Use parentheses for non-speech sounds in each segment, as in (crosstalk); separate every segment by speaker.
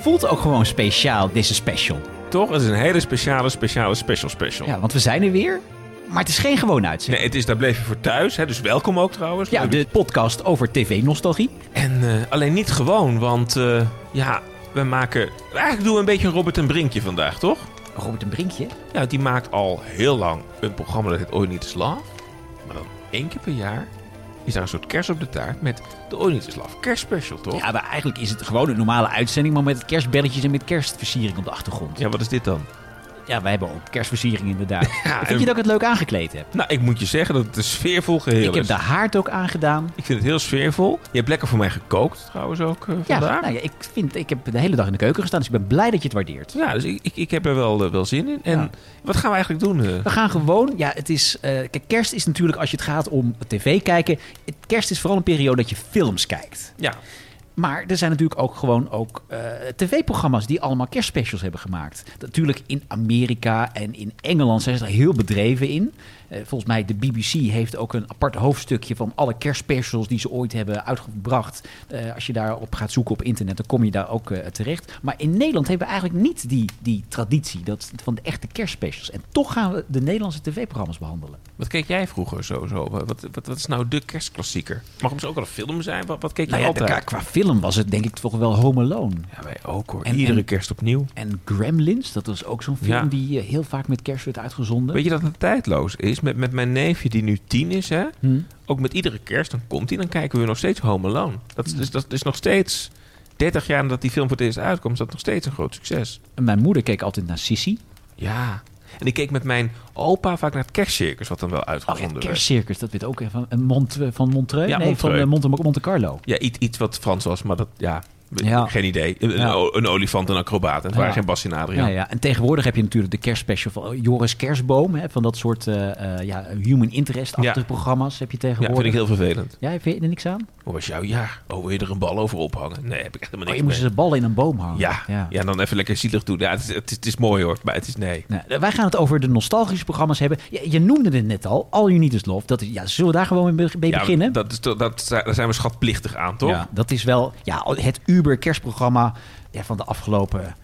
Speaker 1: voelt ook gewoon speciaal, deze special.
Speaker 2: Toch? Het is een hele speciale, speciale, special, special.
Speaker 1: Ja, want we zijn er weer. Maar het is geen gewone uitzending.
Speaker 2: Nee, het is Daar Bleef Je Voor Thuis. Hè? Dus welkom ook trouwens.
Speaker 1: Ja, de podcast over tv-nostalgie.
Speaker 2: En eh, alleen niet gewoon, want eh, ja, we maken... Eigenlijk doen we een beetje een Robert en Brinkje vandaag, toch?
Speaker 1: Robert een Brinkje.
Speaker 2: Ja, die maakt al heel lang een programma dat heet Ooit Niet Is Love. Maar dan één keer per jaar is daar een soort kers op de taart met de Ooit Niet Is Love kerstspecial, toch?
Speaker 1: Ja, maar eigenlijk is het gewoon een normale uitzending, maar met kerstbelletjes en met kerstversiering op de achtergrond. Ja,
Speaker 2: Ja, wat is dit dan?
Speaker 1: wij hebben ook kerstversiering inderdaad.
Speaker 2: (laughs)
Speaker 1: Vind
Speaker 2: en-
Speaker 1: je dat ik het leuk aangekleed heb?
Speaker 2: Nou, ik moet je zeggen dat het een sfeervol geheel
Speaker 1: Ik heb
Speaker 2: is.
Speaker 1: de haard ook aangedaan.
Speaker 2: Ik vind het heel sfeervol. Je hebt lekker voor mij gekookt trouwens ook eh,
Speaker 1: Ja,
Speaker 2: vandaag.
Speaker 1: nou ja, ik, vind, ik heb de hele dag in de keuken gestaan, dus ik ben blij dat je het waardeert.
Speaker 2: Ja, dus ik, ik, ik heb er wel, eh, wel zin in. En
Speaker 1: Ja.
Speaker 2: wat gaan we eigenlijk doen? eh?
Speaker 1: We gaan gewoon, ja, het is. eh, kijk, kerst is natuurlijk als je het gaat om tv kijken. het- Kerst is vooral een periode dat je films kijkt.
Speaker 2: Ja,
Speaker 1: Maar er zijn natuurlijk ook gewoon ook eh, tv-programma's die allemaal kerstspecials hebben gemaakt. Natuurlijk in Amerika en in Engeland zijn ze er heel bedreven in. Eh, volgens mij de BBC heeft ook een apart hoofdstukje van alle kerstspecials die ze ooit hebben uitgebracht. Eh, als je daarop gaat zoeken op internet, dan kom je daar ook eh, terecht. Maar in Nederland hebben we eigenlijk niet die, die traditie dat, van de echte kerstspecials. En toch gaan we de Nederlandse tv-programma's behandelen.
Speaker 2: wat keek jij vroeger zo? zo? Wat, wat, wat is nou de kerstklassieker? Mag het ook wel een film zijn? Wat, wat keek
Speaker 1: Nou
Speaker 2: je
Speaker 1: ja,
Speaker 2: altijd?
Speaker 1: qua, qua film was het denk ik toch wel Home Alone.
Speaker 2: Ja, wij ook hoor.
Speaker 1: En-
Speaker 2: Iedere
Speaker 1: en-
Speaker 2: kerst opnieuw.
Speaker 1: En Gremlins, dat was ook zo'n film
Speaker 2: Ja.
Speaker 1: die eh, heel vaak met kerst werd uitgezonden.
Speaker 2: Weet je dat het tijdloos is? Met, met mijn neefje die nu tien is, hè?
Speaker 1: Hm?
Speaker 2: Ook met iedere kerst, dan komt hij, dan kijken we nog steeds Home Alone. Dat is,
Speaker 1: Hmm.
Speaker 2: dus, dat is nog steeds, 30 jaar nadat die film voor het eerst uitkomt, is dat nog steeds een groot succes.
Speaker 1: En Mijn moeder keek altijd naar Sissy.
Speaker 2: Ja. En ik keek met mijn opa vaak naar het kerstcircus, wat dan wel
Speaker 1: Oh, ja,
Speaker 2: uitgevonden werd.
Speaker 1: kerstcircus, dat weet ook even. Van, Mont, van Montreux?
Speaker 2: Ja,
Speaker 1: nee,
Speaker 2: Montreux.
Speaker 1: van eh, Monte, Monte Carlo.
Speaker 2: Ja, iets, iets wat Frans was, maar dat, ja, we-
Speaker 1: Ja.
Speaker 2: geen idee. Een,
Speaker 1: Ja.
Speaker 2: o- een olifant, een acrobaat. En het waren
Speaker 1: Ja.
Speaker 2: geen Bas en Adriaan.
Speaker 1: Ja, ja. En tegenwoordig heb je natuurlijk de kerstspecial van oh, Joris Kerstboom. Hè, van dat soort eh, eh, ja, human interest-achtige
Speaker 2: Ja.
Speaker 1: programma's heb je
Speaker 2: Ja,
Speaker 1: tegenwoordig.
Speaker 2: vind ik heel vervelend.
Speaker 1: Ja, vind je er niks aan?
Speaker 2: Hoe was jouw jaar? Oh, wil je er een bal over ophangen? Nee, heb ik echt helemaal
Speaker 1: Oh,
Speaker 2: niks
Speaker 1: je moest
Speaker 2: mee.
Speaker 1: ze ballen in een boom hangen.
Speaker 2: Ja, ja. dan even lekker zielig doen. Ja, het, is, het, is, het is mooi hoor, maar het is nee.
Speaker 1: Nou, wij gaan het over de nostalgische programma's hebben. Je, je noemde het net al, All You Need Is Love. Dat is, ja, zullen we daar gewoon mee be- mee
Speaker 2: Ja,
Speaker 1: beginnen?
Speaker 2: Dat is, toch- dat, daar zijn we schatplichtig aan, toch?
Speaker 1: Ja, dat is wel ja, het Uber-kerstprogramma ja, van de afgelopen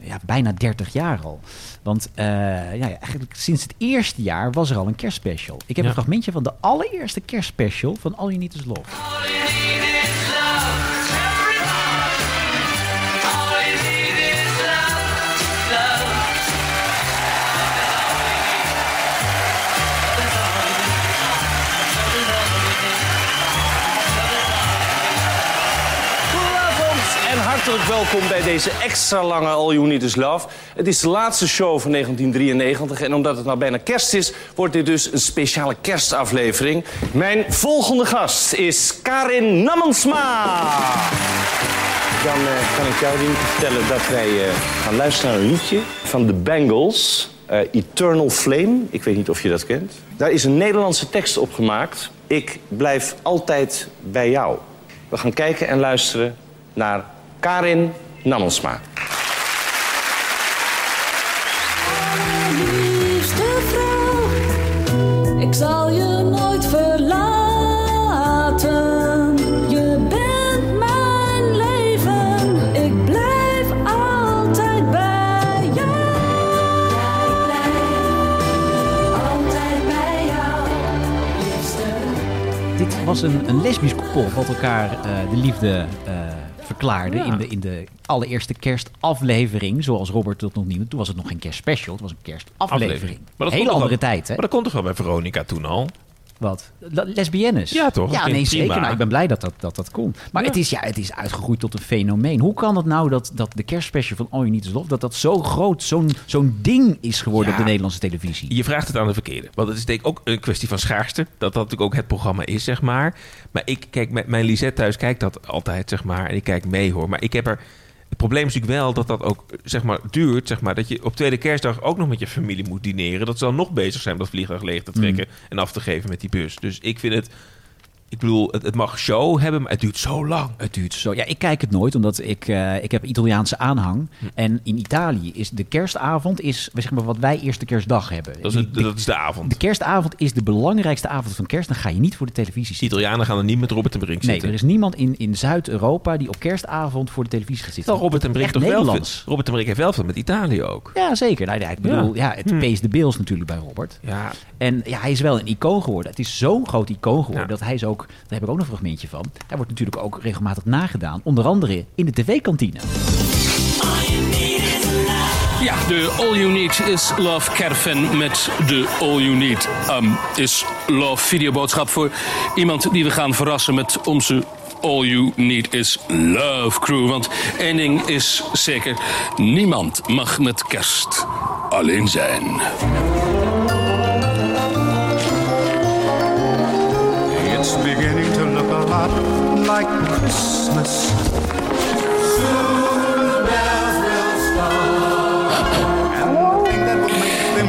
Speaker 1: ja, bijna 30 jaar al. Want eh, ja, ja, eigenlijk sinds het eerste jaar was er al een kerstspecial. Ik heb
Speaker 2: Ja.
Speaker 1: een fragmentje van de allereerste kerstspecial van All You Need Is Love.
Speaker 3: Goedenavond en hartelijk welkom bij deze extra lange All You Need Is Love. Het is de laatste show van 1993 en omdat het nou bijna kerst is... wordt dit dus een speciale kerstaflevering. Mijn volgende gast is Karin Nammensma. Dan eh, kan ik jou Rien, vertellen dat wij eh, gaan luisteren naar een liedje van de Bangles... eh, Eternal Flame, ik weet niet of je dat kent. Daar is een Nederlandse tekst op gemaakt. Ik blijf altijd bij jou. We gaan kijken en luisteren naar Karin Nammelsma.
Speaker 4: Liefste vrouw, ik zal je nooit verlaten. Je bent mijn leven, ik blijf altijd bij jou. Ik blijf altijd bij jou, liefste.
Speaker 1: Dit was een, een lesbisch koppel wat elkaar eh, de liefde eh, verklaarde in, de, in de allereerste kerstaflevering. Zoals Robert dat nog niet noemde. Toen was het nog geen kerstspecial, het was een kerstaflevering.
Speaker 2: Maar dat
Speaker 1: Hele
Speaker 2: kon toch
Speaker 1: andere
Speaker 2: wel-
Speaker 1: tijd, hè?
Speaker 2: Maar dat kon toch wel bij Veronica toen al?
Speaker 1: Wat? Le- Lesbiennes?
Speaker 2: Ja, toch? Dat
Speaker 1: Ja,
Speaker 2: vind
Speaker 1: nee,
Speaker 2: ik
Speaker 1: zeker.
Speaker 2: prima.
Speaker 1: Nou, ik ben blij dat dat, dat, dat kon. Maar
Speaker 2: Ja.
Speaker 1: het, is, ja, het is uitgegroeid tot een fenomeen. Hoe kan het nou dat, dat de kerstspecial van All You Need Is Love... dat dat zo groot, zo'n zo'n ding is geworden
Speaker 2: Ja.
Speaker 1: op de Nederlandse televisie?
Speaker 2: Je vraagt het aan de verkeerde. Want het is denk ik ook een kwestie van schaarste. Dat dat natuurlijk ook het programma is, zeg maar. Maar ik, kijk, mijn- mijn Lisette thuis kijkt dat altijd, zeg maar. En ik kijk mee, hoor. Maar ik heb er... Het probleem is natuurlijk wel dat dat ook, zeg maar, duurt, zeg maar. Dat je op tweede kerstdag ook nog met je familie moet
Speaker 1: Mm.
Speaker 2: dineren. Dat ze dan nog bezig zijn om dat vliegtuig leeg te trekken en af te geven met die bus. Dus ik vind het... Ik bedoel, het, het mag show hebben, maar het duurt zo lang.
Speaker 1: Het duurt zo. Ja, ik kijk het nooit, omdat ik, eh, ik heb Italiaanse aanhang.
Speaker 2: Hm.
Speaker 1: En in Italië is de kerstavond is, zeg maar, wat wij eerste kerstdag hebben.
Speaker 2: Dat is, het-
Speaker 1: Die- de,
Speaker 2: dat is de avond.
Speaker 1: de kerstavond is de belangrijkste avond van kerst. Dan ga je niet voor de televisie
Speaker 2: De
Speaker 1: zitten.
Speaker 2: Italianen gaan er niet met Robert en Brink
Speaker 1: Nee,
Speaker 2: zitten.
Speaker 1: er is niemand in, in Zuid-Europa die op kerstavond voor de televisie gaat zitten.
Speaker 2: Terwijl Robert en Brink
Speaker 1: Echt
Speaker 2: toch wel
Speaker 1: Nederlands.
Speaker 2: veel- Robert en Brink heeft wel veel met Italië ook.
Speaker 1: Ja, zeker. Nou, ja, ik bedoel, ja. het pees de Bills natuurlijk bij Robert.
Speaker 2: Ja,
Speaker 1: En ja, hij is wel een icoon geworden. Het is zo'n groot icoon geworden
Speaker 2: Ja.
Speaker 1: dat hij is ook, daar heb ik ook nog een fragmentje van. Hij wordt natuurlijk ook regelmatig nagedaan, onder andere in de tv-kantine.
Speaker 5: Ja, de All You Need is Love Caravan met de All You Need ehm, is Love videoboodschap voor iemand die we gaan verrassen met onze All You Need is Love crew. Want één ding is zeker, niemand mag met kerst alleen zijn.
Speaker 6: It's beginning to look a lot like Christmas.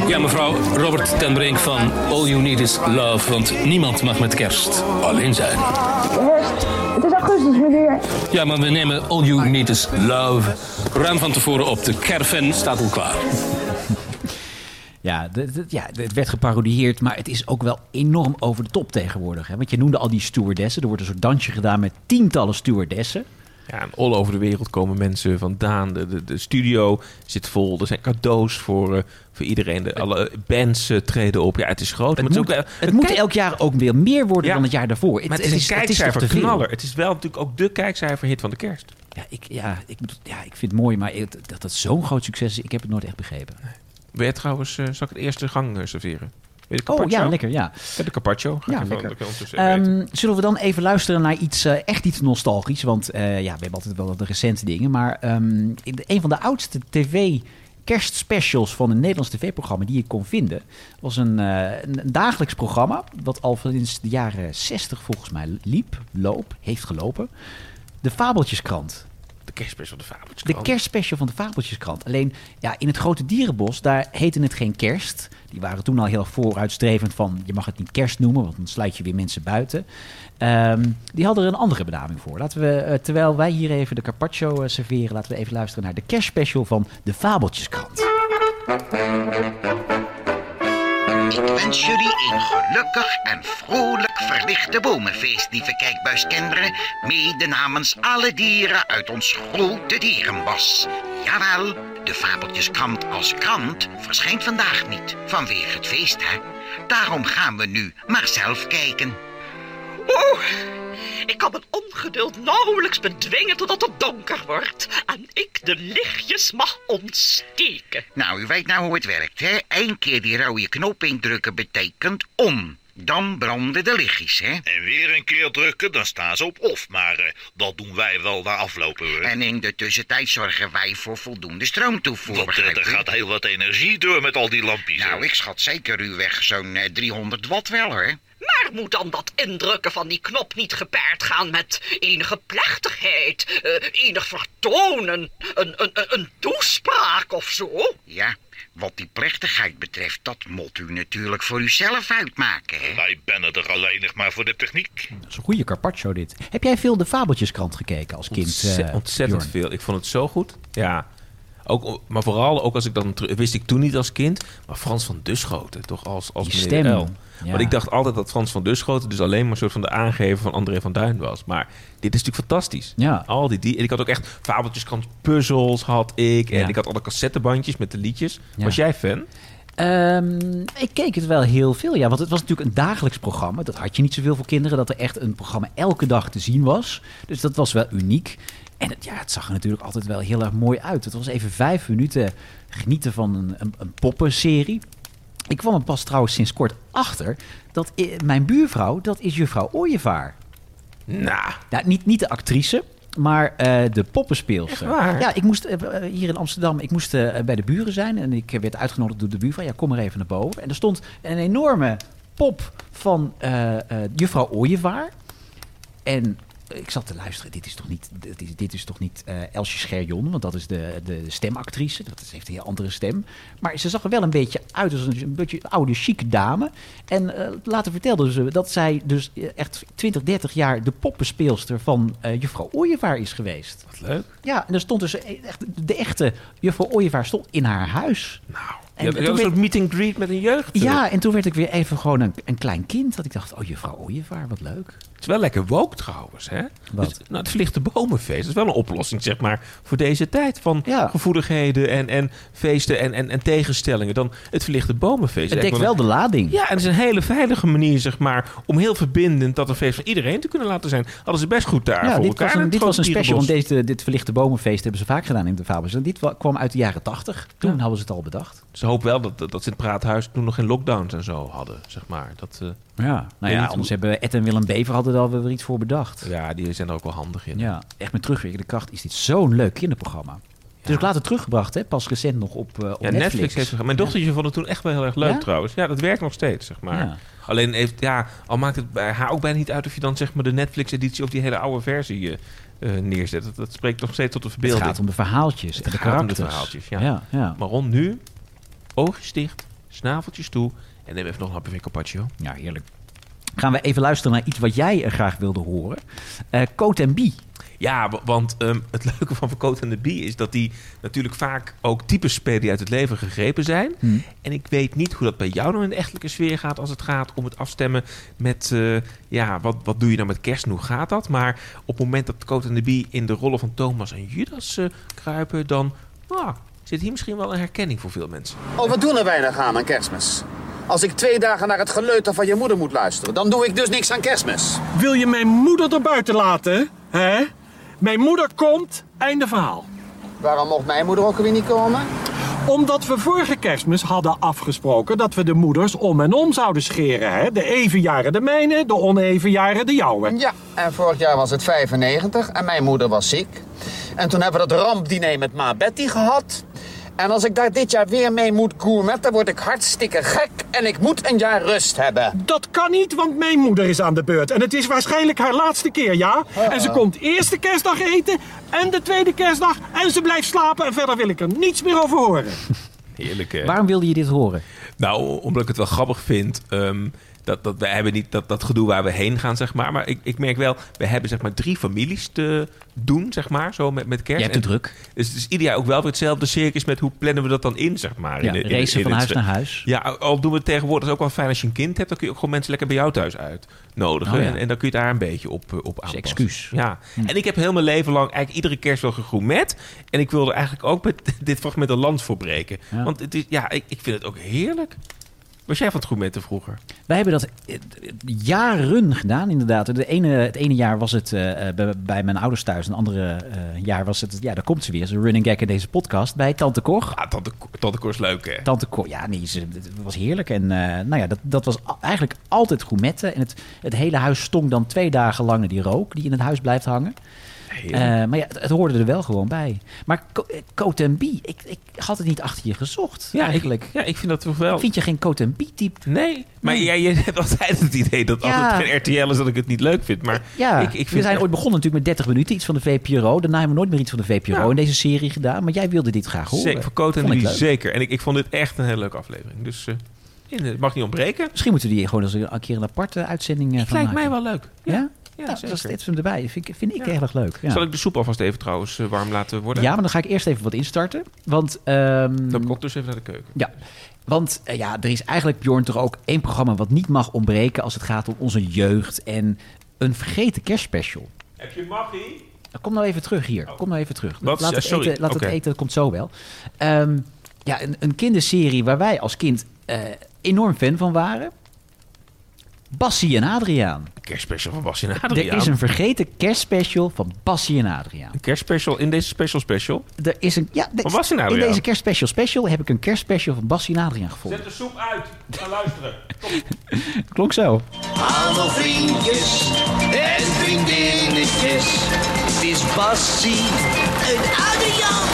Speaker 5: Ja, mevrouw Robert ten Brink van All You Need is Love, want niemand mag met kerst alleen zijn.
Speaker 7: Kerst. Het is augustus, meneer.
Speaker 5: Ja, maar we nemen All You Need is Love ruim van tevoren op. De caravan staat al klaar.
Speaker 1: Ja, de- de- ja, de- het werd geparodieerd, maar het is ook wel enorm over de top tegenwoordig. Hè? Want je noemde al die stewardessen. Er wordt een soort dansje gedaan met tientallen stewardessen.
Speaker 2: Ja, en all over de wereld komen mensen vandaan. De, de, de studio zit vol. Er zijn cadeaus voor, eh, voor iedereen. De, alle bands eh, treden op. Ja, het is groot.
Speaker 1: Het,
Speaker 2: maar
Speaker 1: moet,
Speaker 2: het is ook,
Speaker 1: het,
Speaker 2: wel-
Speaker 1: moet
Speaker 2: kijk-
Speaker 1: elk jaar ook weer meer worden
Speaker 2: Ja.
Speaker 1: dan het jaar daarvoor.
Speaker 2: Maar het is een
Speaker 1: toch te veel?
Speaker 2: kijkcijferknaller. Het is wel natuurlijk ook de kijkcijferhit van de kerst.
Speaker 1: Ja ik, ja, ik, bedoel- ja, ik vind het mooi, maar het- dat dat zo'n groot succes is, ik heb het nooit echt begrepen.
Speaker 2: Wil jij trouwens, eh, zal ik het eerste gang eh, serveren? Wil je de
Speaker 1: Oh
Speaker 2: carpaccio?
Speaker 1: ja, lekker, ja.
Speaker 2: Ja, de carpaccio. Ga
Speaker 1: Ja,
Speaker 2: ik even-
Speaker 1: lekker.
Speaker 2: dat kan ik ondertussen even eten.
Speaker 1: Ehm, zullen we dan even luisteren naar iets, eh, echt iets nostalgisch? Want eh, ja, we hebben altijd wel de recente dingen. Maar ehm, in de- een van de oudste tv kerstspecials van een Nederlands tv-programma die ik kon vinden... was een, eh, een, een dagelijks programma dat al sinds de jaren 60 volgens mij liep, loop, heeft gelopen. De Fabeltjeskrant.
Speaker 2: De kerstmis van de fabeltjes.
Speaker 1: De kerstspecial van de Fabeltjeskrant. Alleen ja, in het grote dierenbos, daar heette het geen kerst. Die waren toen al heel vooruitstrevend van je mag het niet kerst noemen, want dan sluit je weer mensen buiten. Ehm, die hadden er een andere benaming voor. Laten we, eh, terwijl wij hier even de carpaccio eh, serveren, laten we even luisteren naar de kerstspecial van de Fabeltjeskrant.
Speaker 8: Ik wens jullie een gelukkig en vrolijk verlichte bomenfeest, lieve kijkbuiskinderen. Mede namens alle dieren uit ons grote dierenbos. Jawel, de Fabeltjeskrant als krant verschijnt vandaag niet, vanwege het feest, hè. Daarom gaan we nu maar zelf kijken.
Speaker 9: Oeh, ik kan mijn ongeduld nauwelijks bedwingen totdat het donker wordt en ik de lichtjes mag ontsteken.
Speaker 8: Nou, u weet nou hoe het werkt, hè? Eén keer die rode knop indrukken betekent om. Dan branden de lichtjes, hè?
Speaker 10: En weer een keer drukken, dan staan ze op of. Maar eh, dat doen wij wel na afloop hoor.
Speaker 8: En in de tussentijd zorgen wij voor voldoende stroomtoevoer.
Speaker 10: Want eh,
Speaker 8: begrijpt
Speaker 10: er
Speaker 8: u?
Speaker 10: gaat heel wat energie door met al die lampjes.
Speaker 8: Nou, ik schat zeker u weg zo'n eh, 300 watt wel, hè?
Speaker 9: Maar moet dan dat indrukken van die knop niet gepaard gaan met enige plechtigheid, eh, enig vertonen, een, een, een- een toespraak of zo?
Speaker 8: Ja, wat die plechtigheid betreft, dat moet u natuurlijk voor uzelf uitmaken, hè?
Speaker 10: Wij bennen er alleen nog maar voor de techniek.
Speaker 1: Dat is een goede carpaccio dit. Heb jij veel de Fabeltjeskrant gekeken als kind? eh,
Speaker 2: Ontze-
Speaker 1: Bjorn?
Speaker 2: ontzettend veel. Ik vond het zo goed. Ja. Ook, maar vooral ook als ik dan terug- wist ik toen niet als kind, maar Frans van Duschoten toch als als
Speaker 1: Die
Speaker 2: meneer
Speaker 1: stem,
Speaker 2: L.
Speaker 1: ja.
Speaker 2: Want ik dacht altijd dat Frans van Duschoten dus alleen maar een soort van de aangever van André van Duin was. Maar dit is natuurlijk fantastisch.
Speaker 1: Ja.
Speaker 2: Al die, die en ik had ook echt fabeltjeskrant puzzels had ik en
Speaker 1: Ja.
Speaker 2: ik had alle cassettebandjes met de liedjes.
Speaker 1: Ja.
Speaker 2: Was jij fan?
Speaker 1: Ehm, ik keek het wel heel veel, ja. Want het was natuurlijk een dagelijks programma. Dat had je niet zoveel voor kinderen. Dat er echt een programma elke dag te zien was. Dus dat was wel uniek. En het, ja, het zag er natuurlijk altijd wel heel erg mooi uit. Het was even vijf minuten genieten van een, een, een poppenserie. Ik kwam er pas trouwens sinds kort achter dat i- mijn buurvrouw, dat is juffrouw Ooievaar.
Speaker 2: Nou,
Speaker 1: Nou, niet, niet de actrice, maar eh, de poppenspeelster.
Speaker 2: Echt waar?
Speaker 1: Ja, ik moest eh, eh, hier in Amsterdam, ik moest eh, bij de buren zijn en ik werd uitgenodigd door de buurvrouw. Ja, kom maar even naar boven. En er stond een enorme pop van eh, eh, juffrouw Ooievaar. En ik zat te luisteren. Dit is toch niet, dit is, dit is toch niet eh, Elsje Scherjon? Want dat is de, de stemactrice. Dat is- heeft een heel andere stem. Maar ze zag er wel een beetje uit als een, een beetje oude, chique dame. En eh, later vertelde ze dat zij dus eh, echt 20, 30 jaar de poppenspeelster van eh, juffrouw Ooievaar is geweest. Wat
Speaker 2: leuk.
Speaker 1: Ja, en er stond dus echt, de echte juffrouw Ooievaar stond in haar huis. Nou,
Speaker 2: En, je had een soort meet and greet met een jeugd.
Speaker 1: ja, en toen werd ik weer even gewoon een, een klein kind. Dat ik dacht, oh, juffrouw Ooievaar, wat leuk.
Speaker 2: Het is wel lekker woke trouwens, hè?
Speaker 1: Wat?
Speaker 2: Dus, nou, het verlichte bomenfeest dat is wel een oplossing, zeg maar, voor deze tijd van gevoeligheden en, en feesten en, en, en tegenstellingen. Dan het verlichte bomenfeest.
Speaker 1: Het dekt wel de lading.
Speaker 2: Ja, en het is een hele veilige manier, zeg maar, om heel verbindend dat een feest van iedereen te kunnen laten zijn. Hadden ze best goed daar
Speaker 1: Ja,
Speaker 2: voor
Speaker 1: dit
Speaker 2: elkaar.
Speaker 1: was een,
Speaker 2: Het
Speaker 1: dit was een
Speaker 2: grote
Speaker 1: special, want
Speaker 2: dierenbos.
Speaker 1: deze, dit verlichte bomenfeest hebben ze vaak gedaan in de Fabels. En dit wa- kwam uit de jaren 80. Toen hadden ze het al bedacht.
Speaker 2: Dus ik hoop wel dat, dat, dat ze in het Praathuis toen nog geen lockdowns en zo hadden, zeg maar. Dat, eh,
Speaker 1: Ja,
Speaker 2: weet
Speaker 1: nou ja,
Speaker 2: niet
Speaker 1: anders
Speaker 2: hoe-
Speaker 1: hebben Ed en Willem Bever hadden er alweer iets voor bedacht.
Speaker 2: Ja, die zijn er ook wel handig in.
Speaker 1: Ja, echt met terugwerkende kracht is dit zo'n leuk kinderprogramma. Het is ook later teruggebracht, hè? pas recent nog op, eh, op
Speaker 2: Ja, Netflix,
Speaker 1: Netflix.
Speaker 2: heeft het Mijn dochtertje vond het toen echt wel heel erg leuk
Speaker 1: Ja?
Speaker 2: trouwens. Ja, dat werkt nog steeds, zeg maar.
Speaker 1: Ja.
Speaker 2: Alleen heeft, ja, al maakt het bij haar ook bijna niet uit of je dan zeg maar de Netflix-editie of die hele oude versie eh eh, neerzet. Dat, dat spreekt nog steeds tot de
Speaker 1: Het
Speaker 2: verbeelding.
Speaker 1: gaat om de verhaaltjes en de
Speaker 2: gaat om de
Speaker 1: karakters.
Speaker 2: verhaaltjes, ja.
Speaker 1: Ja, ja.
Speaker 2: Maar rond nu, oogjes dicht, snaveltjes toe en neem even nog een hapje van je carpaccio.
Speaker 1: Ja, heerlijk. Gaan we even luisteren naar iets wat jij eh, graag wilde horen. Eh Coat en Bie.
Speaker 2: Ja, wa- want ehm, het (laughs) leuke van Verkoot en de Bie is dat die natuurlijk vaak ook types spelen die uit het leven gegrepen zijn.
Speaker 1: Hm.
Speaker 2: En ik weet niet hoe dat bij jou nou in de echtelijke sfeer gaat als het gaat om het afstemmen met, eh, ja, wat, wat doe je nou met kerst en hoe gaat dat? Maar op het moment dat Coat en de Bie in de rollen van Thomas en Judas eh, kruipen, dan ah, zit hier misschien wel een herkenning voor veel mensen.
Speaker 11: Oh, wat doen er weinig aan aan kerstmis? Als ik twee dagen naar het geleuter van je moeder moet luisteren, dan doe ik dus niks aan kerstmis.
Speaker 12: Wil je mijn moeder er buiten laten? Hè? Mijn moeder komt, einde verhaal.
Speaker 11: Waarom mocht mijn moeder ook weer niet komen?
Speaker 12: Omdat we vorige kerstmis hadden afgesproken dat we de moeders om en om zouden scheren. Hè? De evenjaren de mijne, de onevenjaren de jouwe.
Speaker 11: Ja, en vorig jaar was het 95 en mijn moeder was ziek. En toen hebben we dat rampdiner met ma Betty gehad. En als ik daar dit jaar weer mee moet gourmetten, word ik hartstikke gek en ik moet een jaar rust hebben.
Speaker 12: Dat kan niet, want mijn moeder is aan de beurt. En het is waarschijnlijk haar laatste keer, ja? En ze komt eerst de kerstdag eten en de tweede kerstdag. En ze blijft slapen en verder wil ik er niets meer over horen.
Speaker 2: Heerlijk, hè?
Speaker 1: Waarom wilde je dit horen?
Speaker 2: Nou, omdat ik het wel grappig vind. ehm, dat, dat, wij hebben niet dat, dat gedoe waar we heen gaan, zeg maar. Maar ik, ik merk wel, we hebben zeg maar drie families te doen, zeg maar. Zo met, met kerst.
Speaker 1: Je hebt het
Speaker 2: En-
Speaker 1: druk.
Speaker 2: Dus het is ieder jaar ook wel weer hetzelfde circus met hoe plannen we dat dan in, zeg maar.
Speaker 1: Ja,
Speaker 2: in, de- in de-
Speaker 1: racen
Speaker 2: in
Speaker 1: van
Speaker 2: het-
Speaker 1: huis naar huis.
Speaker 2: Ja, al doen we het tegenwoordig. Dat is ook wel fijn als je een kind hebt. Dan kun je ook gewoon mensen lekker bij jou thuis uitnodigen.
Speaker 1: Oh, ja.
Speaker 2: en, en dan kun je daar een beetje op, eh, op aanpassen.
Speaker 1: excuus.
Speaker 2: Ja.
Speaker 1: Hm.
Speaker 2: En ik heb heel mijn leven lang eigenlijk iedere kerst wel gegroemet. En ik wilde eigenlijk ook met (laughs) dit fragment een land voorbreken.
Speaker 1: Ja.
Speaker 2: Want het is, ja, ik, ik vind het ook heerlijk. Was jij van het groemetten vroeger?
Speaker 1: Wij hebben dat eh, jaren gedaan, inderdaad. De ene, het ene jaar was het eh, eh, bij, bij mijn ouders thuis. Een andere eh, jaar was het... Ja, daar komt ze weer. Ze running gag in deze podcast bij Tante Cor.
Speaker 2: Ah, Tante, Tante Cor is leuk, hè?
Speaker 1: Tante Cor, ja, nee, ze, het was heerlijk. En eh, nou ja, dat, dat was a- eigenlijk altijd gourmetten. En het, het hele huis stonk dan twee dagen lang naar die rook... die in het huis blijft hangen.
Speaker 2: Heerlijk.
Speaker 1: Eh, maar ja, het, het hoorde er wel gewoon bij. Maar Co- eh, Coat en Bie, ik, ik had het niet achter je gezocht,
Speaker 2: Ja,
Speaker 1: eigenlijk.
Speaker 2: Ik, ja, ik vind dat toch wel...
Speaker 1: Vind je geen Coat en Bie type?
Speaker 2: Nee, maar jij, jij hebt altijd het idee dat als
Speaker 1: Ja.
Speaker 2: het geen RTL is, dat ik het niet leuk vind. Maar
Speaker 1: Ja,
Speaker 2: ik, ik
Speaker 1: we
Speaker 2: vind eh,
Speaker 1: zijn
Speaker 2: echt-
Speaker 1: ooit begonnen natuurlijk met 30 minuten, iets van de VPRO. Daarna hebben we nooit meer iets van de VPRO
Speaker 2: Ja.
Speaker 1: in deze serie gedaan. Maar jij wilde dit graag horen.
Speaker 2: Nou. Zeker, voor Coat en
Speaker 1: Vond ik
Speaker 2: Louis
Speaker 1: leuk.
Speaker 2: zeker. En ik, ik vond dit echt een hele leuke aflevering. Dus eh, in, het mag niet ontbreken.
Speaker 1: Misschien moeten we die gewoon eens een een keer een aparte uitzending eh,
Speaker 2: Het
Speaker 1: van
Speaker 2: lijkt
Speaker 1: maken.
Speaker 2: mij wel leuk.
Speaker 1: Ja? ja? nou,
Speaker 2: zeker.
Speaker 1: dat is dit hem erbij. Vind, ik- vind ik heel erg leuk. Ja.
Speaker 2: Zal ik de soep alvast even trouwens eh, warm laten worden?
Speaker 1: ja, maar dan ga ik eerst even wat instarten. Want, ehm,
Speaker 2: Dan komt dus even naar de keuken.
Speaker 1: Ja, want eh, ja, er is eigenlijk, Bjorn, toch ook één programma wat niet mag ontbreken als het gaat om onze jeugd en een vergeten kerstspecial.
Speaker 2: Heb je Maggie?
Speaker 1: Kom nou even terug hier. Kom nou even terug.
Speaker 2: Wat?
Speaker 1: Laat, het,
Speaker 2: Ja, sorry.
Speaker 1: eten, laat
Speaker 2: Oké.
Speaker 1: het eten, dat komt zo wel. Ehm, ja, een, een kinderserie waar wij als kind eh, enorm fan van waren. Bassie en Adriaan.
Speaker 2: Kerstspecial van Basje en
Speaker 1: Er
Speaker 2: Adriaan.
Speaker 1: is een vergeten kerstspecial van Bassie en Adriaan.
Speaker 2: Een kerstspecial in deze special special.
Speaker 1: Er is een, ja,
Speaker 2: Van Bassie en
Speaker 1: in
Speaker 2: Adriaan.
Speaker 1: deze kerstspecial special heb ik een kerstspecial van Bassie en Adriaan gevonden.
Speaker 2: de soep uit. Ga luisteren.
Speaker 1: Klonk zo.
Speaker 13: Allemaal vriendjes en vriendinnetjes. Het is Bassie en Adriaan.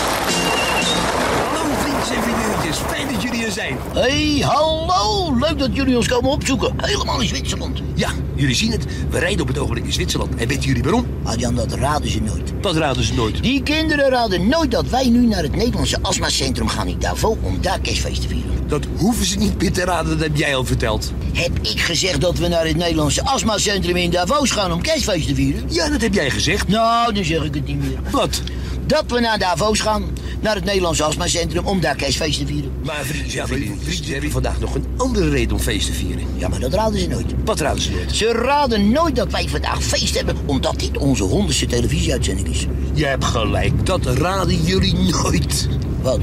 Speaker 13: Hallo vriendjes.
Speaker 14: Vriendjes en vriendinnetjes, fijn dat jullie er zijn.
Speaker 10: Hé, hey, hallo! Leuk dat jullie ons komen opzoeken. Helemaal in Zwitserland.
Speaker 14: Ja, jullie zien het. We rijden op het ogenblik in Zwitserland. En weten jullie waarom?
Speaker 10: Adjan, dat raden ze nooit.
Speaker 14: Dat raden ze nooit.
Speaker 10: Die kinderen raden nooit dat wij nu naar het Nederlandse astmacentrum gaan in Davos om daar kerstfeest te vieren.
Speaker 14: Dat hoeven ze niet meer te raden, dat heb jij al verteld.
Speaker 10: Heb ik gezegd dat we naar het Nederlandse astmacentrum in Davos gaan om kerstfeest te vieren?
Speaker 14: Ja, dat heb jij gezegd.
Speaker 10: Nou, dan zeg ik het niet meer.
Speaker 14: Wat?
Speaker 10: Dat we naar Davos gaan, naar het Nederlandse astmacentrum om daar kerstfeest te vieren.
Speaker 14: Maar vriendjes en vriendinnetjes, we hebben vandaag nog een andere reden om feest te vieren.
Speaker 10: Ja, maar dat raden ze nooit.
Speaker 14: Wat raden ze nooit?
Speaker 10: Ze raden nooit dat wij vandaag feest hebben, omdat dit onze honderdste televisieuitzending is.
Speaker 14: Je hebt gelijk, dat raden jullie nooit.
Speaker 10: Wat?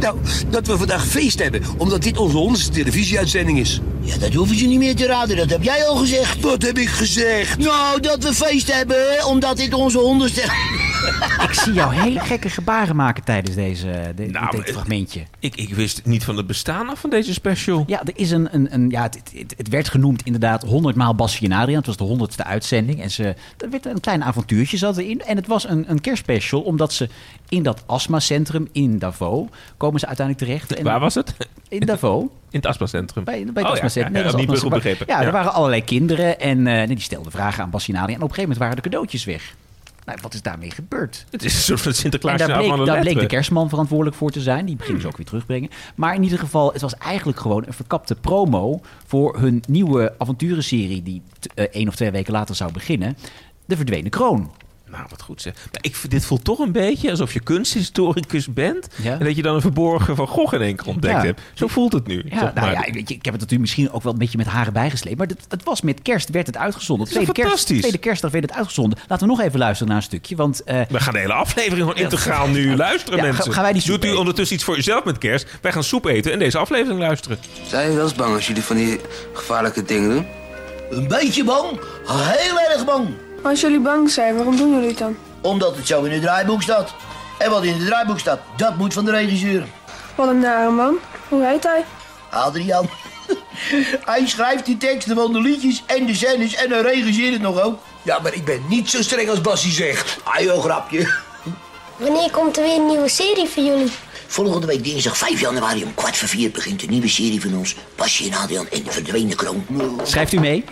Speaker 14: Nou, dat we vandaag feest hebben, omdat dit onze honderdste televisieuitzending is.
Speaker 10: Ja, dat hoeven ze niet meer te raden, dat heb jij al gezegd.
Speaker 14: Wat heb ik gezegd?
Speaker 10: Nou, dat we feest hebben, omdat dit onze honderdste...
Speaker 1: Ik zie jou hele gekke gebaren maken tijdens deze, de-
Speaker 2: Nou,
Speaker 1: dit
Speaker 2: eh,
Speaker 1: fragmentje.
Speaker 2: (laughs) Ik, ik wist niet van het bestaan af van deze special.
Speaker 1: Ja, er is een, een, een ja, het, het, het werd genoemd inderdaad 100 maal Bassie en Adriaan. Het was de honderdste uitzending. En ze, er werd een klein avontuurtje zat erin. En het was een, een kerstspecial, omdat ze in dat astmacentrum in Davos komen ze uiteindelijk terecht. En
Speaker 2: Waar was het?
Speaker 1: In Davos.
Speaker 2: In het astmacentrum.
Speaker 1: Bij, bij
Speaker 2: Oh
Speaker 1: het
Speaker 2: ja,
Speaker 1: astmacentrum. Nee,
Speaker 2: ja,
Speaker 1: dat
Speaker 2: ja,
Speaker 1: is
Speaker 2: niet meer goed
Speaker 1: astmacentrum.
Speaker 2: begrepen.
Speaker 1: Ja,
Speaker 2: Ja.
Speaker 1: er waren allerlei kinderen en eh, nee, die stelden vragen aan Bassie en Adriaan. En op een gegeven moment waren de cadeautjes weg. Nou, wat is daarmee gebeurd?
Speaker 2: Het is een soort van
Speaker 1: En
Speaker 2: Sinterklaasje
Speaker 1: daar bleek,
Speaker 2: van
Speaker 1: daar bleek de
Speaker 2: Letteren.
Speaker 1: kerstman verantwoordelijk voor te zijn. Die ging ze ook weer terugbrengen. Maar in ieder geval, het was eigenlijk gewoon een verkapte promo... voor hun nieuwe avonturenserie die t- eh, één of twee weken later zou beginnen. De Verdwenen Kroon.
Speaker 2: Nou, wat goed zeg. Maar ik, vind- dit voelt toch een beetje alsof je kunsthistoricus bent...
Speaker 1: Ja.
Speaker 2: en dat je dan een verborgen Van Gogh in één keer ontdekt
Speaker 1: Ja.
Speaker 2: hebt. Zo voelt het nu.
Speaker 1: Ja, nou
Speaker 2: zeg maar.
Speaker 1: ja, weet je, ik heb het natuurlijk misschien ook wel een beetje met haren bijgesleept. Maar dat, het was met kerst werd het uitgezonden.
Speaker 2: is toch
Speaker 1: Tweede, kerst,
Speaker 2: fantastisch?
Speaker 1: tweede kerstdag werd het uitgezonden. Laten we nog even luisteren naar een stukje. Want eh,
Speaker 2: We gaan de hele aflevering gewoon
Speaker 1: Ja,
Speaker 2: integraal nu luisteren,
Speaker 1: Ja, ga-
Speaker 2: mensen.
Speaker 1: gaan wij die soep
Speaker 2: Doet u
Speaker 1: eten?
Speaker 2: ondertussen iets voor uzelf met kerst? Wij gaan soep eten en deze aflevering luisteren.
Speaker 15: Zijn je wel eens bang als jullie van die gevaarlijke dingen doen?
Speaker 10: Een beetje bang, heel erg bang.
Speaker 7: Als jullie bang zijn, waarom doen jullie het dan?
Speaker 10: Omdat het zo in het draaiboek staat. En wat in het draaiboek staat, dat moet van de regisseur.
Speaker 7: Wat een nare man. Hoe heet hij?
Speaker 10: Adriaan. (laughs) Hij schrijft die teksten van de liedjes en de scènes en hij regisseert het nog ook.
Speaker 14: Ja, maar ik ben niet zo streng als Bassie zegt.
Speaker 10: Ah joh, grapje.
Speaker 16: Wanneer komt er weer een nieuwe serie voor jullie?
Speaker 10: Volgende week dinsdag 5 januari om kwart voor vier begint een nieuwe serie van ons. Basje en Adriaan en de verdwenen kroon.
Speaker 1: schrijft u mee?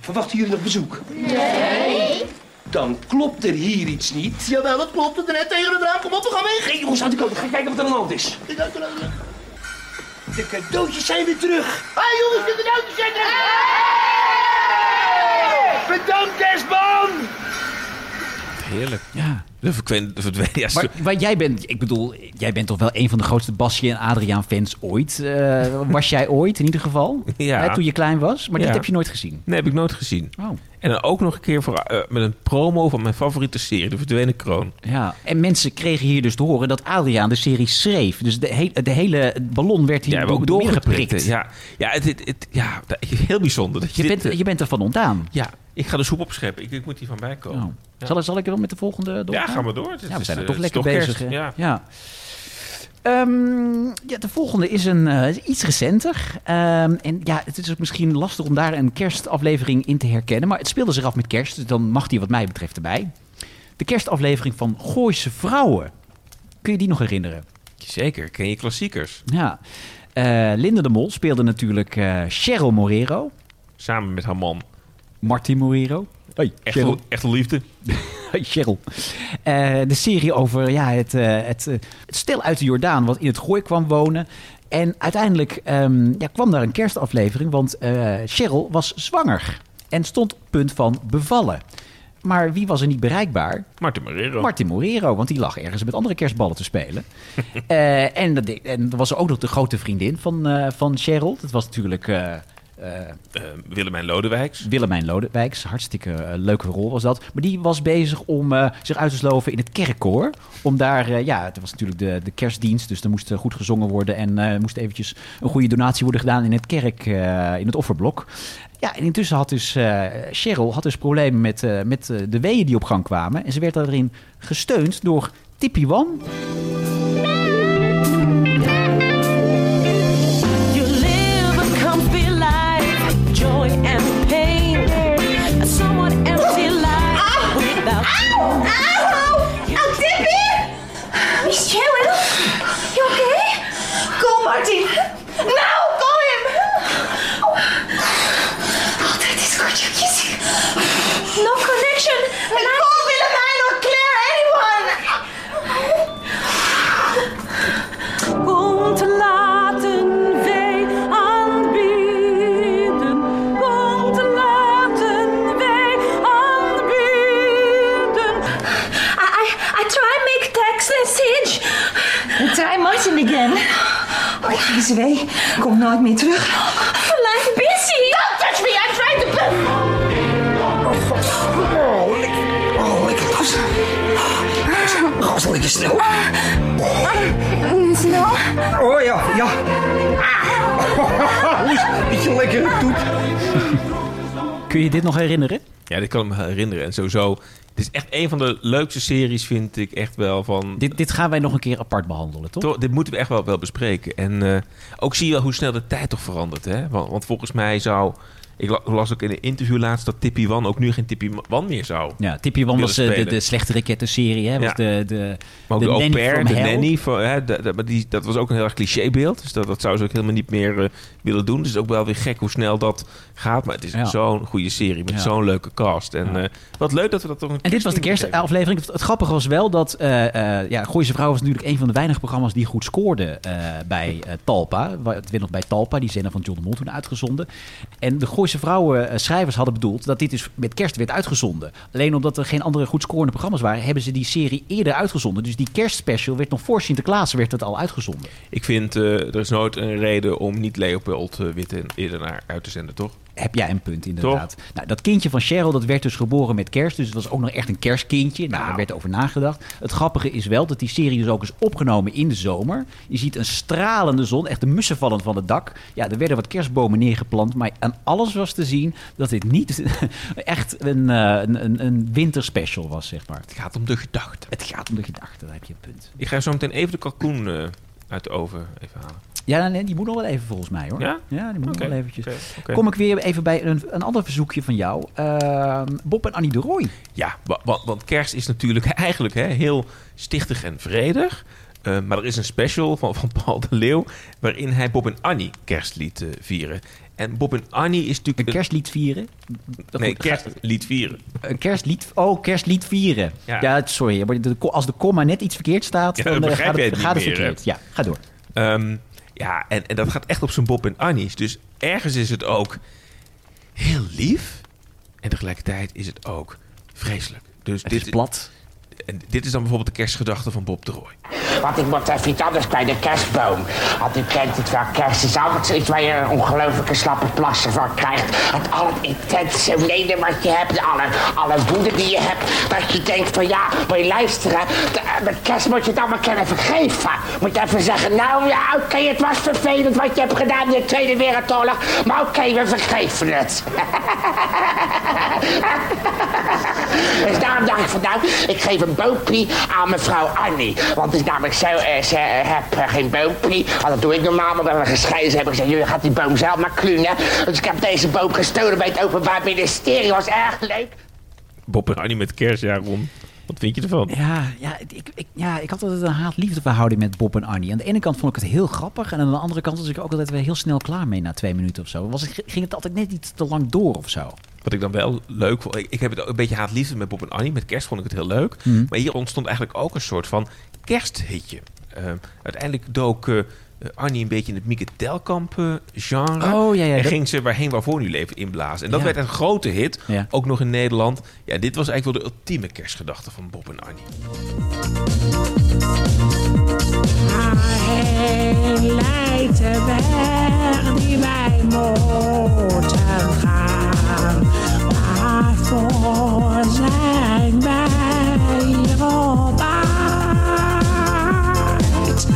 Speaker 14: Verwachten jullie nog bezoek?
Speaker 10: Nee.
Speaker 14: Dan klopt er hier iets niet.
Speaker 10: Jawel, dat klopt. Het net tegen de draad. Kom op, we gaan weg.
Speaker 14: Hey jongens, aan de kant. Ga kijken wat er aan de hand is. De cadeautjes zijn weer terug.
Speaker 10: Hé hey, jongens, de cadeautjes zijn er.
Speaker 14: Bedankt, kerstman!
Speaker 2: Heerlijk.
Speaker 1: Ja.
Speaker 2: De verdwenen... de verdwenen- ja,
Speaker 1: Maar, maar jij bent, ik bedoel, jij bent toch wel een van de grootste Basje en Adriaan fans ooit. Eh, was jij ooit in ieder geval?
Speaker 2: (laughs) Ja.
Speaker 1: Hè, toen je klein was. Maar
Speaker 2: Ja.
Speaker 1: dit heb je nooit gezien.
Speaker 2: Nee, heb ik nooit gezien.
Speaker 1: Oh.
Speaker 2: En dan ook nog een keer voor, eh, met een promo van mijn favoriete serie, De Verdwenen Kroon.
Speaker 1: Ja. En mensen kregen hier dus te horen dat Adriaan de serie schreef. Dus de, he- de hele het ballon werd hier
Speaker 2: Ja,
Speaker 1: door, doorgeprikt.
Speaker 2: hè. Ja, ja, het, het, het- ja dat- heel bijzonder. Dat je,
Speaker 1: Je,
Speaker 2: dit,
Speaker 1: bent,
Speaker 2: eh,
Speaker 1: je bent er van ontdaan.
Speaker 2: Ja, ik ga de soep opscheppen. Ik, ik moet hier van bij komen.
Speaker 1: Nou, zal, zal ik er wel met de volgende doorgaan?
Speaker 2: Ja, gaan we door. Het
Speaker 1: Ja, we
Speaker 2: is,
Speaker 1: zijn er
Speaker 2: eh,
Speaker 1: toch
Speaker 2: het is
Speaker 1: lekker
Speaker 2: toch
Speaker 1: bezig.
Speaker 2: kerst,
Speaker 1: hè?
Speaker 2: ja.
Speaker 1: Ehm, ja, de volgende is een, eh, iets recenter. Ehm, en ja, het is ook misschien lastig om daar een kerstaflevering in te herkennen. Maar het speelde zich af met kerst, dus dan mag die wat mij betreft erbij. De kerstaflevering van Gooise Vrouwen. Kun je die nog herinneren?
Speaker 2: Zeker, ken je klassiekers.
Speaker 1: Ja. Eh Linda de Mol speelde natuurlijk eh Cheryl Morero.
Speaker 2: Samen met haar man.
Speaker 1: Martin Morero. Hey,
Speaker 2: Echt, echte liefde.
Speaker 1: Hey, (laughs) Cheryl. Eh, de serie over ja, het, eh, het, eh, het stel uit de Jordaan wat in het Gooi kwam wonen. En uiteindelijk ehm, ja, kwam daar een kerstaflevering, want eh, Cheryl was zwanger. En stond op het punt van bevallen. Maar wie was er niet bereikbaar?
Speaker 2: Martin Marero.
Speaker 1: Martin Morero, want die lag ergens met andere kerstballen te spelen. Eh, en, dat, en er was ook nog de grote vriendin van, eh, van Cheryl. Dat was natuurlijk... eh, eh,
Speaker 2: Eh, Willemijn Lodewijks.
Speaker 1: Willemijn Lodewijks, hartstikke eh, leuke rol was dat. Maar die was bezig om eh, zich uit te sloven in het kerkkoor. Om daar, eh, ja, het was natuurlijk de, de kerstdienst, dus er moest eh, goed gezongen worden. En eh, er moest eventjes een goede donatie worden gedaan in het kerk, eh, in het offerblok. Ja, en intussen had dus eh, Cheryl had dus problemen met, eh, met eh, de weeën die op gang kwamen. En ze werd daarin gesteund door Tippy Wan.
Speaker 4: You live a comfy life, joy and pain. A somewhat empty life without
Speaker 17: Ow! Ow! Ow, Dippy! Miss Cheryl, you okay? Try Martin again. Oh ja, deze wee. Komt nooit meer terug. Blijf busy. Don't touch me, I'm trying to put...
Speaker 13: Oh, lekker. Oh, lekker los. Rosalie, snel.
Speaker 17: Snel.
Speaker 13: Oh ja, ja. Ah. Hoe is je lekker doet.
Speaker 1: Kun je dit nog herinneren?
Speaker 2: Ja, dit kan ik me herinneren. En sowieso, het is echt een van de leukste series, vind ik echt wel. Van,
Speaker 1: dit, dit gaan wij nog een keer apart behandelen, toch?
Speaker 2: dit moeten we echt wel, wel bespreken. En eh, ook zie je wel hoe snel de tijd toch verandert. Hè? Want, want volgens mij zou... Ik la- las ook in een interview laatst dat Tippy Wan ook nu geen Tippy Wan meer zou
Speaker 1: Ja, Tippy Wan
Speaker 2: willen
Speaker 1: was eh, de,
Speaker 2: spelen.
Speaker 1: de slechtere kettenserie. Hè? Was
Speaker 2: Ja.
Speaker 1: de, de,
Speaker 2: Maar ook de, au
Speaker 1: nanny
Speaker 2: pair,
Speaker 1: from
Speaker 2: de
Speaker 1: hell.
Speaker 2: nanny. Van, hè, de- de- maar die, dat was ook een heel erg clichébeeld. Dus dat, dat zou ze ook helemaal niet meer eh, willen doen. Dus het is ook wel weer gek hoe snel dat gaat. Maar het is
Speaker 1: Ja.
Speaker 2: zo'n goede serie met
Speaker 1: Ja.
Speaker 2: zo'n leuke cast. En eh, wat leuk dat we dat toch een
Speaker 1: En dit was de kerstaflevering. Het, het grappige was wel dat... eh eh ja, Gooise Vrouw was natuurlijk een van de weinige programma's... die goed scoorde eh, bij eh, Talpa. Wa- Het werd nog bij Talpa, die zender van John de Mol toen uitgezonden. En de Gooise Vrouwen eh, schrijvers hadden bedoeld... dat dit dus met kerst werd uitgezonden. Alleen omdat er geen andere goed scorende programma's waren... hebben ze die serie eerder uitgezonden. Dus die kerstspecial werd nog voor Sinterklaas werd het al uitgezonden.
Speaker 2: Ik vind, eh, er is nooit een reden om niet Leopold eh, Witte en eerder naar uit te zenden, toch?
Speaker 1: Heb jij een punt, inderdaad. Nou, dat kindje van Cheryl, dat werd dus geboren met kerst. Dus het was ook nog echt een kerstkindje. Nou, daar werd over nagedacht. Het grappige is wel dat die serie dus ook is opgenomen in de zomer. Je ziet een stralende zon, echt de mussen vallend van het dak. Ja, er werden wat kerstbomen neergeplant. Maar aan alles was te zien dat dit niet (laughs) echt een, eh, een, een, een winterspecial was, zeg maar. Het
Speaker 2: gaat om de gedachte.
Speaker 1: Het gaat om de gedachte, daar heb je een punt.
Speaker 2: Ik ga zo meteen even de kalkoen eh, uit de oven even halen.
Speaker 1: Ja, nee, die moet nog wel even volgens mij, hoor.
Speaker 2: Ja?
Speaker 1: die moet nog
Speaker 2: Oké,
Speaker 1: wel eventjes.
Speaker 2: oké, oké.
Speaker 1: Kom ik weer even bij een, een ander verzoekje van jou. Ehm, Bob en Annie de Roy.
Speaker 2: Ja, wa- wa- want kerst is natuurlijk (laughs) eigenlijk hè, heel stichtig en vredig. Eh, maar er is een special van, van Paul de Leeuw... waarin hij Bob en Annie kerstlied eh, vieren. En Bob en Annie is natuurlijk... Een
Speaker 1: kerstlied vieren?
Speaker 2: Nee, kerstlied vieren.
Speaker 1: Een kerstlied. Oh, kerstlied vieren.
Speaker 2: Ja.
Speaker 1: Ja, sorry. maar de- als de komma net iets verkeerd staat,
Speaker 2: Ja,
Speaker 1: dan,
Speaker 2: dan
Speaker 1: eh,
Speaker 2: begrijp
Speaker 1: gaat
Speaker 2: jij
Speaker 1: het,
Speaker 2: het
Speaker 1: gaat
Speaker 2: niet
Speaker 1: het
Speaker 2: meer, hè?
Speaker 1: verkeerd. Ja, ga door.
Speaker 2: Ehm, ja, en, en dat gaat echt op zijn Bob en Annie's. Dus ergens is het ook heel lief. En tegelijkertijd is het ook vreselijk. Dus dit is
Speaker 1: plat.
Speaker 2: En dit is dan bijvoorbeeld de kerstgedachte van Bob de Roy.
Speaker 18: Want ik moet even iets anders bij de kerstboom. Want u kent het wel, kerst is altijd zoiets waar je een ongelooflijke slappe plassen van krijgt. Het alle intense leden wat je hebt, alle, alle woede die je hebt. Dat je denkt van ja, wil je luisteren? De- eh, Met kerst moet je het allemaal kunnen vergeven. Moet je even zeggen, nou ja, oké, het was vervelend wat je hebt gedaan in de Tweede Wereldoorlog. Maar oké, we vergeven het. (laughs) Dus daarom dacht ik van nou, ik geef een boompie aan mevrouw Annie. Want het is namelijk zo, eh, ze eh, heb eh, geen boompie. Want dat doe ik normaal, maar we hebben gescheiden. Ze hebben gezegd, jullie gaat die boom zelf maar klunen. Dus ik heb deze boom gestolen bij het Openbaar Ministerie. Was erg leuk.
Speaker 2: Bob en Annie met kerst, ja, Ron. Wat vind je ervan?
Speaker 1: Ja, ja, ik, ik, ja, ik had altijd een haat-liefdeverhouding met Bob en Annie. Aan de ene kant vond ik het heel grappig. En aan de andere kant was ik er ook altijd weer heel snel klaar mee na twee minuten of zo. Was, het- ging het altijd net iets te lang door of zo.
Speaker 2: Wat ik dan wel leuk vond. Ik, ik heb het ook een beetje haat-liefde met Bob en Annie. Met kerst vond ik het heel leuk.
Speaker 1: Mhm.
Speaker 2: Maar hier ontstond eigenlijk ook een soort van kersthitje. Ehm, uiteindelijk dook eh, Annie een beetje in het Mieke Telkamp-genre.
Speaker 1: Oh, ja, ja,
Speaker 2: En
Speaker 1: dat-
Speaker 2: ging ze waarheen waarvoor nu leven inblazen. En dat
Speaker 1: Ja.
Speaker 2: werd een grote hit.
Speaker 1: Ja.
Speaker 2: Ook nog in Nederland. Ja, dit was eigenlijk wel de ultieme kerstgedachte van Bob en Annie.
Speaker 4: Hij leidt de weg die wij moeten gaan. Waarvoor zijn wij hier op aard?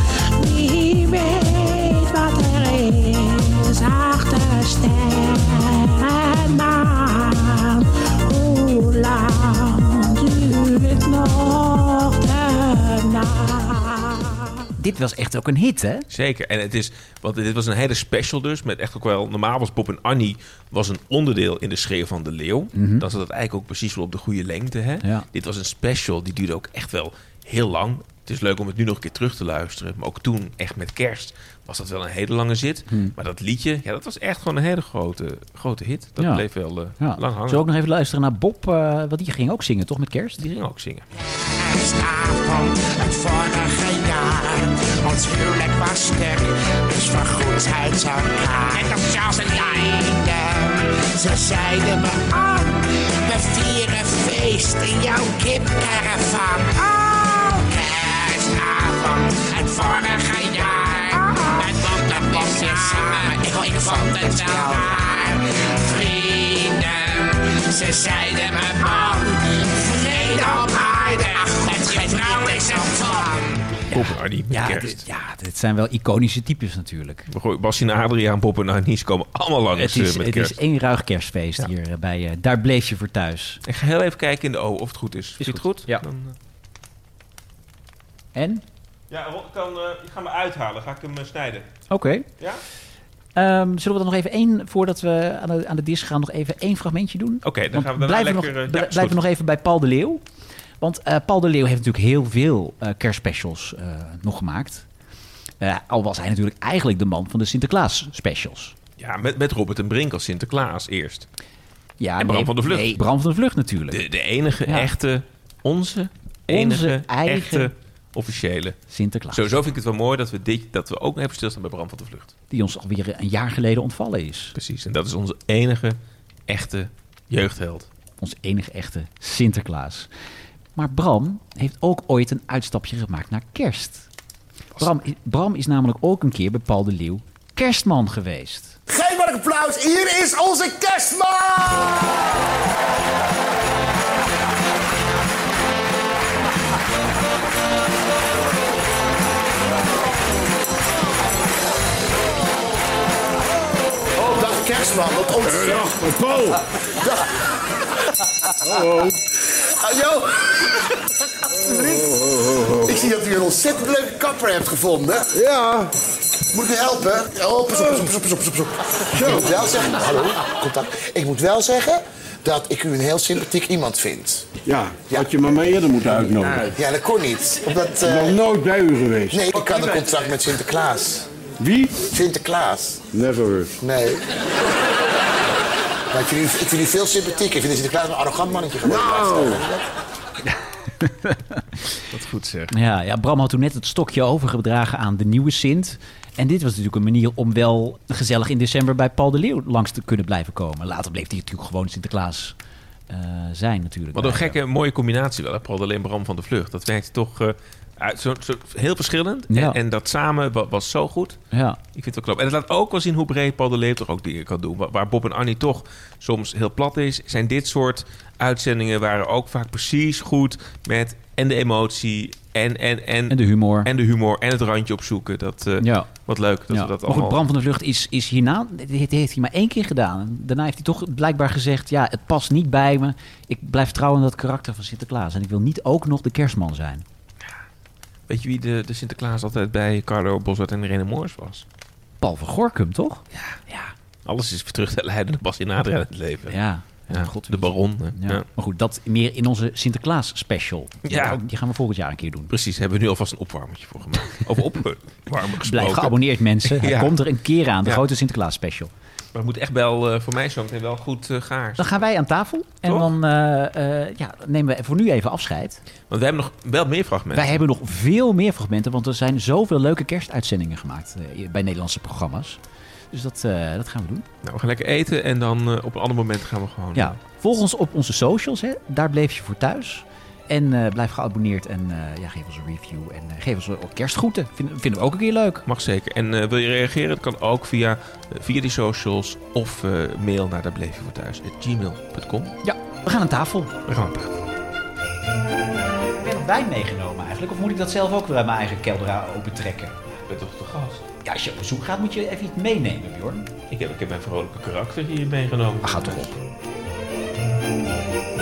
Speaker 4: Wie weet wat er is achter sterren maan? Hoe lang duurt nog de nacht?
Speaker 1: Dit was echt ook een hit, hè?
Speaker 2: Zeker. En het is, want dit was een hele special dus. Met echt ook wel, normaal was Bob en Annie was een onderdeel in de schreeuw van de leeuw.
Speaker 1: Mhm.
Speaker 2: Dan zat het eigenlijk ook precies wel op de goede lengte. Hè?
Speaker 1: Ja.
Speaker 2: Dit was een special, die duurde ook echt wel heel lang. Het is leuk om het nu nog een keer terug te luisteren. Maar ook toen, echt met kerst, was dat wel een hele lange zit.
Speaker 1: Hmm.
Speaker 2: Maar dat liedje, ja, dat was echt gewoon een hele grote, grote hit. Dat
Speaker 1: Ja.
Speaker 2: bleef wel eh,
Speaker 1: Ja.
Speaker 2: lang hangen.
Speaker 1: Zullen we ook nog even luisteren naar Bob? eh, want die ging ook zingen, toch? Met kerst? Die
Speaker 2: ging ook zingen.
Speaker 13: kerstavond het vorige jaar. Ons huwelijk was stuk, dus vergoed uit elkaar. En dat Charles en Leiden, ze zeiden me aan. We vieren feest Ah, in jouw kipcaravan. Oh, kerstavond het vorige is wel waar. Vrienden, ze zeiden me bang. Vrede op aarde, het getrouw is een van.
Speaker 2: Bob en Annie,
Speaker 1: Ja,
Speaker 2: kerst.
Speaker 1: dit- ja, dit zijn wel iconische types natuurlijk.
Speaker 2: We gooien Bassie en Adriaan, Bob en Annie, ze komen allemaal langs
Speaker 1: Het is,
Speaker 2: eh, met
Speaker 1: het
Speaker 2: kerst.
Speaker 1: is één ruig kerstfeest hier eh, bij eh, Daar bleef je voor thuis.
Speaker 2: Ik ga heel even kijken in de O of het goed is. Is het goed? Ja. Dan,
Speaker 1: En?
Speaker 2: Ja, Ron, kan, eh, ik ga me uithalen. Ga ik hem eh, snijden?
Speaker 1: Oké.
Speaker 2: Ja?
Speaker 1: Ehm, zullen we dan nog even één, voordat we aan de, aan de disk gaan, nog even één fragmentje doen?
Speaker 2: Oké,
Speaker 1: Want
Speaker 2: dan gaan we daarna
Speaker 1: blijven
Speaker 2: lekker,
Speaker 1: nog,
Speaker 2: eh, ja,
Speaker 1: bl-
Speaker 2: is
Speaker 1: blijven
Speaker 2: goed.
Speaker 1: nog even bij Paul de Leeuw. Want eh, Paul de Leeuw heeft natuurlijk heel veel eh, kerstspecials eh, nog gemaakt. Eh, al was hij natuurlijk eigenlijk de man van de Sinterklaas specials.
Speaker 2: Ja, met, met Robert en Brink als Sinterklaas eerst.
Speaker 1: Ja,
Speaker 2: en Bram
Speaker 1: nee,
Speaker 2: van de Vlucht.
Speaker 1: nee, Bram van de Vlucht natuurlijk.
Speaker 2: De, de enige
Speaker 1: Ja.
Speaker 2: echte, onze enige
Speaker 1: eigen-
Speaker 2: echte officiële.
Speaker 1: Sinterklaas.
Speaker 2: Sowieso vind ik het wel mooi dat we, dit, dat we ook even stilstaan bij Bram van de Vlucht.
Speaker 1: Die ons alweer een jaar geleden ontvallen is.
Speaker 2: Precies, en dat is onze enige echte jeugdheld.
Speaker 1: Ons enige echte Sinterklaas. Maar Bram heeft ook ooit een uitstapje gemaakt naar kerst. Bram, Bram is namelijk ook een keer bij Paul de Leeuw kerstman geweest.
Speaker 13: Geef maar een applaus, hier is onze kerstman!
Speaker 10: Oh, dag kerstman, wat ontzettend. Paul. Dag. Hallo.
Speaker 13: Ah,
Speaker 10: Hallo. Alsjeblieft. Ik zie dat u een ontzettend leuke kapper hebt gevonden. Ja. Moet ik u helpen? Oh, pas op, pas op, pas op, pas op, pas op. Ik moet wel zeggen, hallo, contact. Ik moet wel zeggen dat ik u een heel sympathiek iemand vind.
Speaker 19: Ja, had je me maar eerder moeten uitnodigen.
Speaker 10: Ja, dat kon niet. Omdat,
Speaker 19: Ik
Speaker 10: eh,
Speaker 19: ben nog nooit bij u geweest.
Speaker 10: nee, ik had een contract met Sinterklaas.
Speaker 19: Wie?
Speaker 10: Sinterklaas.
Speaker 19: Never heard.
Speaker 10: Nee. Maar ik vind, u, ik vind u veel sympathieker. Ik vind dat Sinterklaas een arrogant mannetje geworden.
Speaker 19: Nou.
Speaker 2: Wat goed zeg.
Speaker 1: Ja, ja, Bram had toen net het stokje overgedragen aan de nieuwe Sint. En dit was natuurlijk een manier om wel gezellig in december bij Paul de Leeuw langs te kunnen blijven komen. Later bleef hij natuurlijk gewoon Sinterklaas eh, zijn natuurlijk.
Speaker 2: Wat een
Speaker 1: bij-
Speaker 2: gekke, mooie combinatie wel. hè? Paul alleen Bram van de Vlucht. Dat werkt toch eh, uit, zo, zo- heel verschillend.
Speaker 1: Ja.
Speaker 2: En, en dat samen wa- was zo goed.
Speaker 1: Ja.
Speaker 2: Ik vind het wel knap. En het laat ook wel zien hoe breed Paul de Leeuw toch ook dingen kan doen. Wa- Waar Bob en Annie toch soms heel plat is, zijn dit soort uitzendingen waren ook vaak precies goed met en de emotie en, en, en, en
Speaker 1: de humor.
Speaker 2: En de humor en het randje opzoeken. Dat, eh,
Speaker 1: Ja.
Speaker 2: Wat leuk dat
Speaker 1: Ja.
Speaker 2: we dat
Speaker 1: maar goed,
Speaker 2: allemaal...
Speaker 1: Bram van de Vlucht is, is hierna, dit heeft hij maar één keer gedaan. En daarna heeft hij toch blijkbaar gezegd, ja, het past niet bij me. Ik blijf trouw aan dat karakter van Sinterklaas. En ik wil niet ook nog de kerstman zijn.
Speaker 2: Weet je wie de, de Sinterklaas altijd bij Carlo Boswart en Irene Moors was?
Speaker 1: Paul van Gorkum, toch? Ja.
Speaker 2: Alles is weer terug te leiden naar Bas in Adria het leven.
Speaker 1: Ja.
Speaker 2: Ja, de baron. hè.
Speaker 1: Ja. Maar goed, dat meer in onze Sinterklaas special.
Speaker 2: Ja.
Speaker 1: Die gaan we volgend jaar een keer doen.
Speaker 2: Precies, hebben we nu alvast een opwarmertje voor gemaakt.
Speaker 1: (laughs)
Speaker 2: Over opwarmen gesproken.
Speaker 1: Blijf geabonneerd, mensen. Hij
Speaker 2: (laughs) Ja.
Speaker 1: komt er een keer aan, de
Speaker 2: Ja.
Speaker 1: grote Sinterklaas special.
Speaker 2: Maar het moet echt wel, eh, voor mij zo meteen wel goed eh gaar.
Speaker 1: Dan gaan wij aan tafel en dan eh, eh, ja, nemen we voor nu even afscheid.
Speaker 2: Want we hebben nog wel meer fragmenten.
Speaker 1: Wij hebben nog veel meer fragmenten, want er zijn zoveel leuke kerstuitzendingen gemaakt eh, bij Nederlandse programma's. Dus dat, eh, dat gaan we doen.
Speaker 2: Nou, we gaan lekker eten en dan eh, op een ander moment gaan we gewoon...
Speaker 1: Ja, volg ons op onze socials, hè. daar bleef je voor thuis. En eh, blijf geabonneerd en eh, ja, geef ons een review en eh, geef ons ook kerstgroeten. Vinden, vinden we ook een keer leuk.
Speaker 2: Mag zeker. En eh, wil je reageren? Dat kan ook via, eh, via die socials of eh, mail naar daar bleef je voor thuis. at gmail.com.
Speaker 1: Ja, we gaan aan tafel.
Speaker 2: We gaan aan tafel.
Speaker 1: Ik ben nog wijn meegenomen eigenlijk, of moet ik dat zelf ook weer uit mijn eigen kelder opentrekken?
Speaker 2: Ik ben toch de gast?
Speaker 1: Ja, als je op bezoek gaat moet je even iets meenemen, Bjorn.
Speaker 2: Ik heb, ik heb mijn vrolijke karakter hier meegenomen.
Speaker 1: Maar gaat toch op.